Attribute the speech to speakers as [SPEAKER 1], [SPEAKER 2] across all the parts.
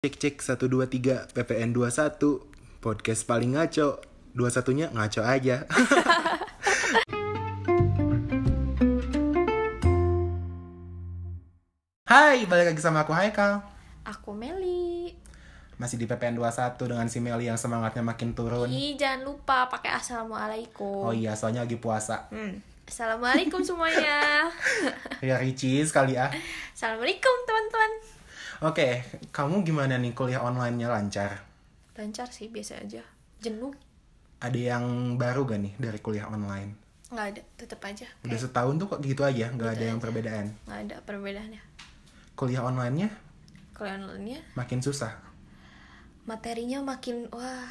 [SPEAKER 1] Cek cek 123 PPN 21 podcast paling ngaco. Dua satunya ngaco aja. Hai, balik lagi sama aku Haikal.
[SPEAKER 2] Aku Meli.
[SPEAKER 1] Masih di PPN 21 dengan si Meli yang semangatnya makin turun.
[SPEAKER 2] Ih, jangan lupa pakai assalamualaikum.
[SPEAKER 1] Oh iya, soalnya lagi puasa.
[SPEAKER 2] Hmm. Assalamualaikum semuanya.
[SPEAKER 1] Ya ricis kali ah.
[SPEAKER 2] Assalamualaikum teman-teman.
[SPEAKER 1] Oke, kamu gimana nih kuliah online-nya lancar?
[SPEAKER 2] Lancar sih biasa aja. Jenuh
[SPEAKER 1] Ada yang baru gak nih dari kuliah online?
[SPEAKER 2] nggak ada, tetap aja.
[SPEAKER 1] Udah setahun tuh kok gitu aja, nggak ada yang perbedaan.
[SPEAKER 2] Nggak ada perbedaannya.
[SPEAKER 1] Kuliah online-nya
[SPEAKER 2] Kalau yang lainnya
[SPEAKER 1] makin susah.
[SPEAKER 2] materinya makin wah.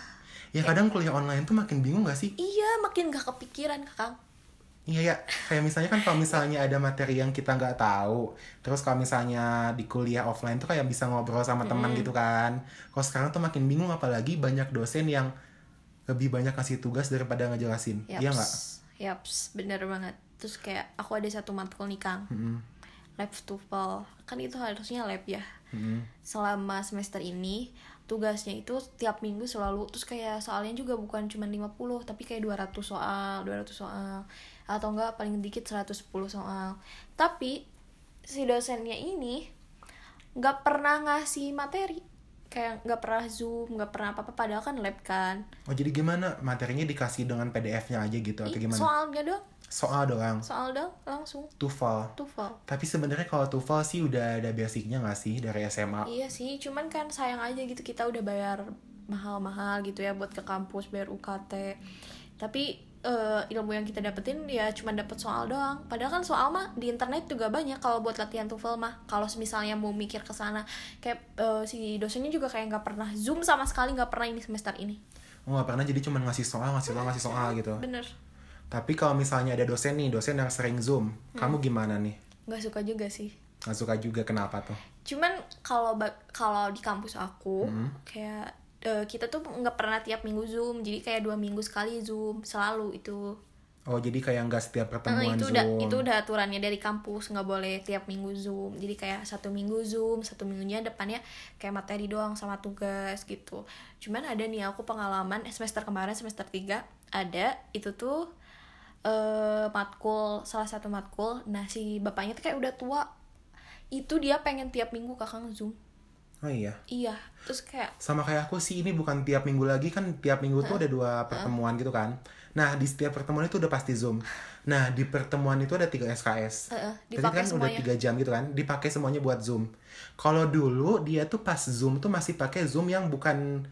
[SPEAKER 1] Ya kadang kuliah online tuh makin bingung gak sih?
[SPEAKER 2] Iya, makin gak kepikiran kakak.
[SPEAKER 1] Iya ya, kayak misalnya kan kalau misalnya ada materi yang kita nggak tahu, terus kalau misalnya di kuliah offline tuh kayak bisa ngobrol sama teman gitu kan. Kalau sekarang tuh makin bingung apalagi banyak dosen yang lebih banyak kasih tugas daripada ngejelasin. Iya nggak?
[SPEAKER 2] Yaps. Yaps, bener banget. Terus kayak aku ada satu matkul nih Kang. Lab tuple. Kan itu harusnya lab ya. Selama semester ini tugasnya itu tiap minggu selalu terus kayak soalnya juga bukan cuma 50 tapi kayak 200 soal, 200 soal atau enggak paling dikit 110 soal. Tapi si dosennya ini nggak pernah ngasih materi kayak nggak pernah zoom nggak pernah apa apa padahal kan lab kan
[SPEAKER 1] Oh jadi gimana? Materinya dikasih dengan PDF-nya aja gitu atau
[SPEAKER 2] Ih,
[SPEAKER 1] gimana?
[SPEAKER 2] soalnya doang
[SPEAKER 1] Soal doang.
[SPEAKER 2] soal dong langsung
[SPEAKER 1] TOEFL.
[SPEAKER 2] TOEFL
[SPEAKER 1] Tapi sebenarnya kalau TOEFL sih udah ada basicnya nggak sih dari SMA?
[SPEAKER 2] iya sih cuman kan sayang aja gitu kita udah bayar mahal-mahal gitu ya buat ke kampus bayar UKT tapi eh, ilmu yang kita dapetin ya cuman dapet soal doang padahal kan soal mah di internet juga banyak kalau buat latihan TOEFL mah kalau misalnya mau mikir ke sana kayak eh, si dosennya juga kayak nggak pernah zoom sama sekali nggak pernah ini semester ini
[SPEAKER 1] Oh nggak pernah jadi cuma ngasih soal, ngasih soal, ngasih soal gitu.
[SPEAKER 2] bener
[SPEAKER 1] Tapi kalau misalnya ada dosen nih, dosen yang sering zoom,
[SPEAKER 2] Hmm.
[SPEAKER 1] kamu gimana nih?
[SPEAKER 2] nggak suka juga sih
[SPEAKER 1] Nggak suka juga kenapa tuh?
[SPEAKER 2] cuman kalau ba- kalau di kampus aku kayak eh, kita tuh nggak pernah tiap minggu zoom jadi kayak dua minggu sekali zoom selalu itu
[SPEAKER 1] Oh jadi kayak nggak setiap
[SPEAKER 2] Nah,
[SPEAKER 1] pertemuan zoom.
[SPEAKER 2] itu udah itu udah aturannya dari kampus nggak boleh tiap minggu zoom jadi kayak satu minggu zoom satu minggunya depannya kayak materi doang sama tugas gitu cuman ada nih aku pengalaman eh, semester kemarin semester 3 ada itu tuh eh matkul salah satu matkul nah si bapaknya tuh kayak udah tua itu dia pengen tiap minggu kakang zoom
[SPEAKER 1] Oh iya.
[SPEAKER 2] Iya, terus kayak
[SPEAKER 1] Sama kayak aku sih ini bukan tiap minggu lagi kan tiap minggu tuh ada dua pertemuan gitu kan. Nah di setiap pertemuan itu udah pasti zoom. Nah di pertemuan itu ada tiga SKS.
[SPEAKER 2] eh, eh,
[SPEAKER 1] Jadi
[SPEAKER 2] dipakai
[SPEAKER 1] kan udah
[SPEAKER 2] semuanya.
[SPEAKER 1] tiga jam gitu kan, dipakai semuanya buat zoom. Kalau dulu dia tuh pas zoom tuh masih pakai zoom yang bukan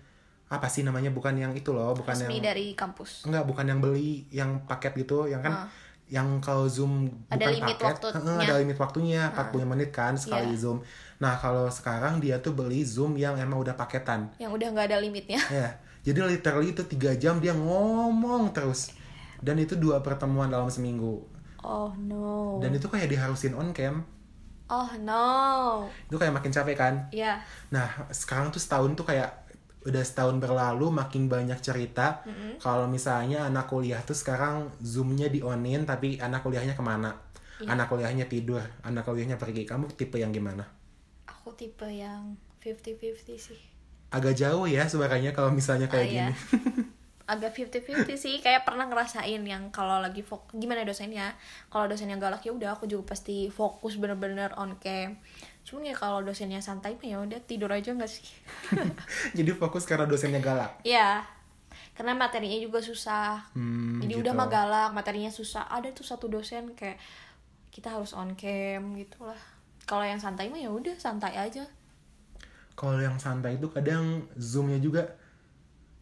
[SPEAKER 1] apa sih namanya bukan yang itu loh, bukan
[SPEAKER 2] resmi
[SPEAKER 1] yang Hmm.
[SPEAKER 2] dari kampus.
[SPEAKER 1] Enggak, bukan yang beli yang paket gitu, yang kan
[SPEAKER 2] Ah.
[SPEAKER 1] yang kalau zoom
[SPEAKER 2] Ada
[SPEAKER 1] bukan
[SPEAKER 2] limit
[SPEAKER 1] paket,
[SPEAKER 2] waktunya.
[SPEAKER 1] heeh, ada limit waktunya 40 menit kan sekali
[SPEAKER 2] Iya.
[SPEAKER 1] zoom. Nah, kalau sekarang dia tuh beli zoom yang emang udah paketan.
[SPEAKER 2] Yang udah nggak ada limitnya.
[SPEAKER 1] Ya. Jadi literally itu tiga jam dia ngomong terus. Dan itu dua pertemuan dalam seminggu.
[SPEAKER 2] Oh no.
[SPEAKER 1] Dan itu kayak diharusin on cam.
[SPEAKER 2] Oh no.
[SPEAKER 1] Itu kayak makin capek kan?
[SPEAKER 2] Ya,
[SPEAKER 1] Nah, sekarang tuh setahun tuh kayak udah setahun berlalu makin banyak
[SPEAKER 2] Hmm.
[SPEAKER 1] cerita kalau misalnya anak kuliah tuh sekarang zoomnya di onin tapi anak kuliahnya kemana
[SPEAKER 2] Iya.
[SPEAKER 1] anak kuliahnya tidur anak kuliahnya pergi kamu tipe yang gimana
[SPEAKER 2] aku tipe yang 50-50 sih.
[SPEAKER 1] agak jauh ya suaranya kalau misalnya kayak
[SPEAKER 2] Ah, ya.
[SPEAKER 1] gini
[SPEAKER 2] Agak 50-50 sih, kayak pernah ngerasain yang kalau lagi fokus gimana dosennya. Kalau dosennya galak ya udah aku juga pasti fokus bener-bener on cam. Cuman ya kalau dosennya santai mah ya udah tidur aja nggak sih?
[SPEAKER 1] jadi fokus karena dosennya galak
[SPEAKER 2] Iya. Karena materinya juga susah.
[SPEAKER 1] Hmm,
[SPEAKER 2] Jadi
[SPEAKER 1] gitu.
[SPEAKER 2] udah mah galak, materinya susah. Ada tuh satu dosen kayak kita harus on cam gitu lah. Kalau yang santai mah ya udah santai aja.
[SPEAKER 1] kalau yang santai itu kadang zoomnya juga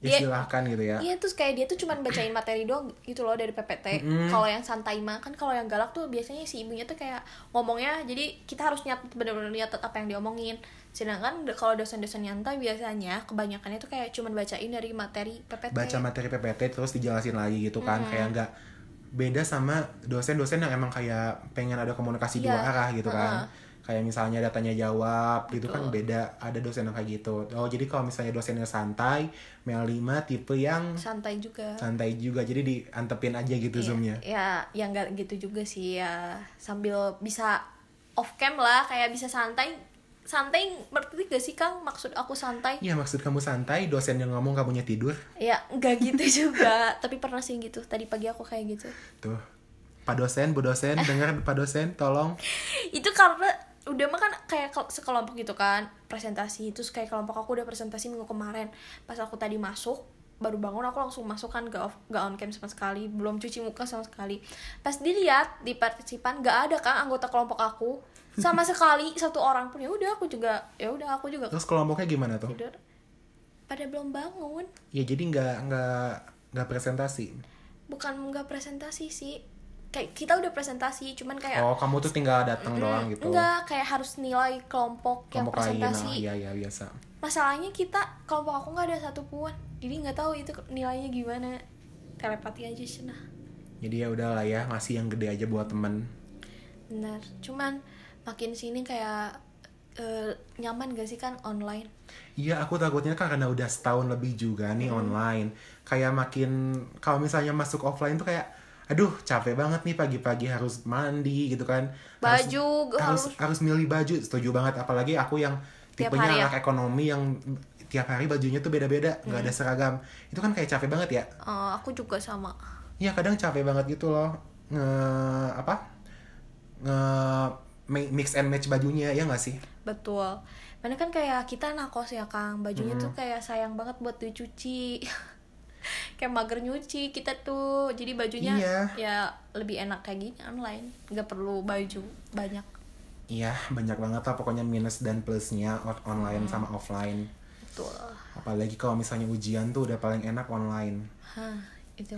[SPEAKER 1] ya
[SPEAKER 2] Iya.
[SPEAKER 1] silahkan gitu ya
[SPEAKER 2] Iya, terus kayak dia tuh cuman bacain materi doang gitu loh dari PPT. Kalau yang santai mah kan kalau yang galak tuh biasanya si ibunya tuh kayak ngomongnya jadi kita harus nyatet bener-bener nyatet apa yang diomongin. Sedangkan de- kalau dosen-dosen nyantai biasanya kebanyakannya tuh kayak cuman bacain dari materi PPT.
[SPEAKER 1] baca materi PPT terus dijelasin lagi gitu kan kayak nggak beda sama dosen-dosen yang emang kayak pengen ada komunikasi dua
[SPEAKER 2] Iya.
[SPEAKER 1] arah gitu kan kayak misalnya ada tanya jawab gitu kan
[SPEAKER 2] Betul.
[SPEAKER 1] beda ada dosen yang kayak gitu oh jadi kalau misalnya dosennya santai Mel 5 tipe yang
[SPEAKER 2] santai juga.
[SPEAKER 1] santai juga jadi diantepin aja gitu
[SPEAKER 2] Iya,
[SPEAKER 1] zoomnya
[SPEAKER 2] Ya, yang nggak gitu juga sih ya. Sambil bisa off cam lah, kayak bisa santai santai ngerti gak sih Kang maksud aku santai
[SPEAKER 1] Ya maksud kamu santai, dosen yang ngomong kamunya tidur.
[SPEAKER 2] ya nggak gitu juga tapi pernah sih gitu tadi pagi aku kayak gitu
[SPEAKER 1] Tuh. Pak dosen, Bu dosen, dengar Pak dosen, tolong.
[SPEAKER 2] itu karena udah mah kan kayak kel- sekelompok gitu kan presentasi itu kayak kelompok aku udah presentasi minggu kemarin pas aku tadi masuk baru bangun aku langsung masuk kan gak, off, gak on cam sama sekali belum cuci muka sama sekali pas dilihat di partisipan gak ada kan anggota kelompok aku sama sekali satu orang pun ya udah aku juga ya udah aku juga
[SPEAKER 1] Terus kelompoknya gimana tuh?
[SPEAKER 2] tidur pada belum bangun
[SPEAKER 1] Ya jadi nggak nggak nggak presentasi.
[SPEAKER 2] bukan nggak presentasi sih kayak kita udah presentasi cuman kayak
[SPEAKER 1] Oh kamu tuh tinggal datang doang gitu.
[SPEAKER 2] enggak kayak harus nilai kelompok, yang
[SPEAKER 1] Kelompok lain, ah,
[SPEAKER 2] presentasi
[SPEAKER 1] iya iya biasa.
[SPEAKER 2] masalahnya kita kelompok aku nggak ada satupun jadi nggak tahu itu nilainya gimana telepati aja sih nah
[SPEAKER 1] Jadi ya udahlah ya, ngasih yang gede aja buat temen.
[SPEAKER 2] benar cuman makin sini kayak eh, nyaman gak sih kan online
[SPEAKER 1] Iya, aku takutnya karena udah setahun lebih juga nih online. Kayak makin kalau misalnya masuk offline tuh kayak aduh capek banget nih pagi-pagi harus mandi gitu kan. Harus-
[SPEAKER 2] Baju,
[SPEAKER 1] harus
[SPEAKER 2] harus-
[SPEAKER 1] harus milih baju, setuju banget apalagi aku yang
[SPEAKER 2] Tiap
[SPEAKER 1] tipenya
[SPEAKER 2] hari ya?
[SPEAKER 1] anak ekonomi yang tiap hari bajunya tuh beda-beda, nggak ada seragam. Itu kan kayak capek banget ya.
[SPEAKER 2] Eh, aku juga sama
[SPEAKER 1] Iya, kadang capek banget gitu loh. Nge apa? Nge mi- mix and match bajunya ya nggak sih?
[SPEAKER 2] betul mana kan kayak kita nakos ya kang bajunya tuh
[SPEAKER 1] Hmm.
[SPEAKER 2] kayak sayang banget buat dicuci kayak mager nyuci kita tuh jadi bajunya
[SPEAKER 1] Iya.
[SPEAKER 2] ya lebih enak kayak gini online nggak perlu baju banyak
[SPEAKER 1] Iya, banyak banget lah pokoknya minus dan plusnya on- online sama offline.
[SPEAKER 2] betul
[SPEAKER 1] Apalagi kalau misalnya ujian tuh udah paling enak online.
[SPEAKER 2] Hah, itu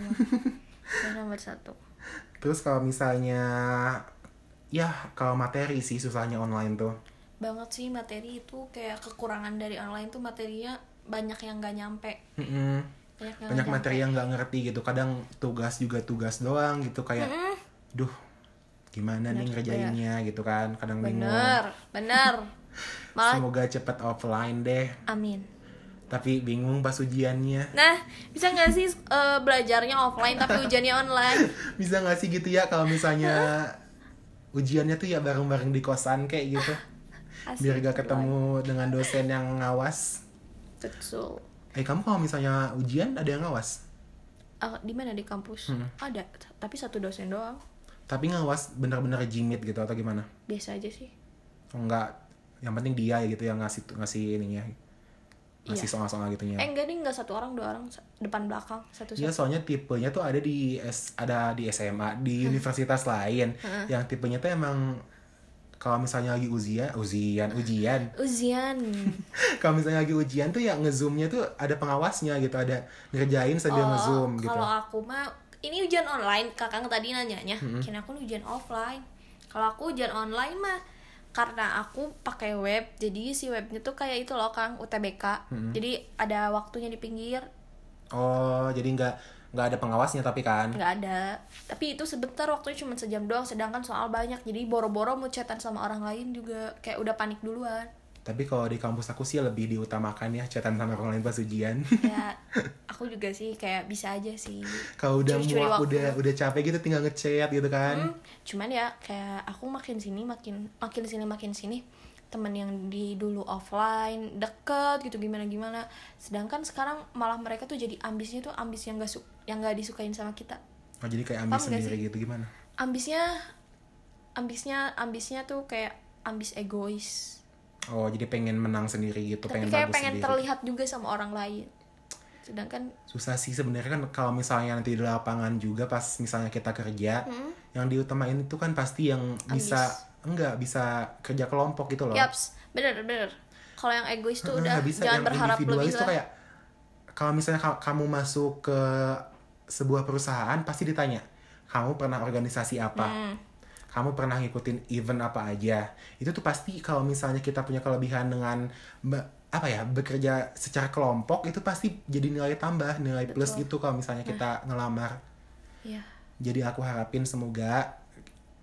[SPEAKER 2] mah Itu nomor satu.
[SPEAKER 1] Terus kalau misalnya ya kalau materi sih susahnya online tuh.
[SPEAKER 2] Banget sih materi itu kayak kekurangan dari online tuh materinya banyak yang nggak nyampe.
[SPEAKER 1] Mm-mm.
[SPEAKER 2] Banyak yang
[SPEAKER 1] Banyak
[SPEAKER 2] nggak nyampe.
[SPEAKER 1] materi yang nggak ngerti gitu. Kadang tugas juga tugas doang gitu kayak duh gimana nih ngerjainnya gitu kan. Kadang bingung.
[SPEAKER 2] Bener, bener. Malah
[SPEAKER 1] Semoga cepet offline deh.
[SPEAKER 2] amin.
[SPEAKER 1] Tapi bingung pas ujiannya.
[SPEAKER 2] Nah, bisa nggak sih eh, belajarnya offline tapi ujiannya online?
[SPEAKER 1] Bisa nggak sih gitu ya kalau misalnya ujiannya tuh ya bareng-bareng di kosan kayak gitu.
[SPEAKER 2] Asik,
[SPEAKER 1] Biar gak ketemu dengan dosen yang ngawas.
[SPEAKER 2] Betul.
[SPEAKER 1] Eh kamu kalau misalnya ujian ada yang ngawas,
[SPEAKER 2] Ah, di mana di kampus?
[SPEAKER 1] Hmm.
[SPEAKER 2] Ada, tapi satu dosen doang.
[SPEAKER 1] tapi ngawas bener-bener jimit gitu atau gimana?
[SPEAKER 2] Biasa aja sih.
[SPEAKER 1] Oh, enggak, yang penting dia ya gitu yang ngasih ngasih ininya, ngasih
[SPEAKER 2] Iya.
[SPEAKER 1] soal-soal gitunya.
[SPEAKER 2] Eh enggak deh, enggak satu orang, dua orang, sa- depan belakang, satu
[SPEAKER 1] Iya
[SPEAKER 2] satu.
[SPEAKER 1] soalnya tipenya tuh ada di S, ada di SMA di universitas lain, yang tipenya tuh emang kalau misalnya lagi ujian, ujian, ujian,
[SPEAKER 2] Ujian.
[SPEAKER 1] kalau misalnya lagi ujian tuh ya ngezoomnya tuh ada pengawasnya gitu, ada ngerjain sambil ngezoom gitu.
[SPEAKER 2] Oh, Kalau aku mah ini ujian online, Kakang tadi nanyanya. Kira aku ujian offline. Kalau aku ujian online mah karena aku pakai web, jadi si webnya tuh kayak itu loh Kang UTBK. Jadi ada waktunya di pinggir,
[SPEAKER 1] Oh jadi nggak nggak ada pengawasnya tapi kan?
[SPEAKER 2] nggak ada. Tapi itu sebentar waktunya cuma sejam doang, sedangkan soal banyak. Jadi boro-boro mau chatan sama orang lain juga kayak udah panik duluan.
[SPEAKER 1] Tapi kalau di kampus aku sih lebih diutamakan ya chatan sama orang lain pas ujian.
[SPEAKER 2] Ya aku juga sih kayak bisa aja sih.
[SPEAKER 1] kalau udah
[SPEAKER 2] Curi-curi
[SPEAKER 1] muak,
[SPEAKER 2] waktu.
[SPEAKER 1] udah udah capek gitu tinggal ngechat gitu kan.
[SPEAKER 2] Hmm, cuman ya kayak aku makin sini makin makin sini makin sini temen yang di dulu offline deket gitu gimana gimana sedangkan sekarang malah mereka tuh jadi ambisnya tuh ambis yang gak su yang gak disukain sama kita
[SPEAKER 1] Oh, jadi kayak ambis
[SPEAKER 2] Hmm. Paham gak
[SPEAKER 1] sendiri gitu gimana?
[SPEAKER 2] ambisnya ambisnya ambisnya tuh kayak ambis egois
[SPEAKER 1] Oh, jadi pengen menang sendiri gitu,
[SPEAKER 2] tapi
[SPEAKER 1] pengen
[SPEAKER 2] kayak
[SPEAKER 1] bagus
[SPEAKER 2] pengen
[SPEAKER 1] sendiri.
[SPEAKER 2] terlihat juga sama orang lain sedangkan
[SPEAKER 1] Susah sih sebenarnya kan kalau misalnya nanti di lapangan juga pas misalnya kita kerja, yang diutamain itu kan pasti yang bisa enggak bisa kerja kelompok gitu loh.
[SPEAKER 2] yaps Iya, bener bener kalau yang egois tuh
[SPEAKER 1] Heeh,
[SPEAKER 2] udah
[SPEAKER 1] nggak bisa
[SPEAKER 2] jangan
[SPEAKER 1] yang
[SPEAKER 2] berharap lebih
[SPEAKER 1] individualis tuh
[SPEAKER 2] lah
[SPEAKER 1] kayak kalau misalnya ka- kamu masuk ke sebuah perusahaan pasti ditanya kamu pernah organisasi apa
[SPEAKER 2] Hmm,
[SPEAKER 1] kamu pernah ngikutin event apa aja itu tuh pasti kalau misalnya kita punya kelebihan dengan be- apa ya bekerja secara kelompok itu pasti jadi nilai tambah nilai plus
[SPEAKER 2] Betul. Nah.
[SPEAKER 1] gitu kalau misalnya kita ngelamar
[SPEAKER 2] Iya.
[SPEAKER 1] jadi aku harapin semoga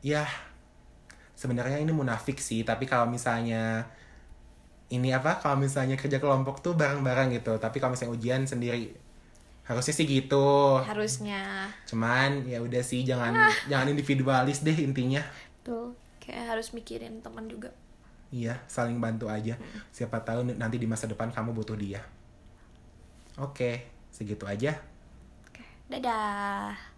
[SPEAKER 1] ya sebenarnya ini munafik sih, tapi kalau misalnya ini apa? Kalau misalnya kerja kelompok tuh bareng-bareng gitu, tapi kalau misalnya ujian sendiri harusnya sih gitu.
[SPEAKER 2] Iya. harusnya
[SPEAKER 1] Cuman ya udah sih
[SPEAKER 2] Ah.
[SPEAKER 1] jangan jangan individualis deh intinya.
[SPEAKER 2] Betul. Kayak harus mikirin teman juga.
[SPEAKER 1] Iya, saling bantu aja. Siapa tahu n- nanti di masa depan kamu butuh dia. Oke, segitu aja.
[SPEAKER 2] Oke, dadah.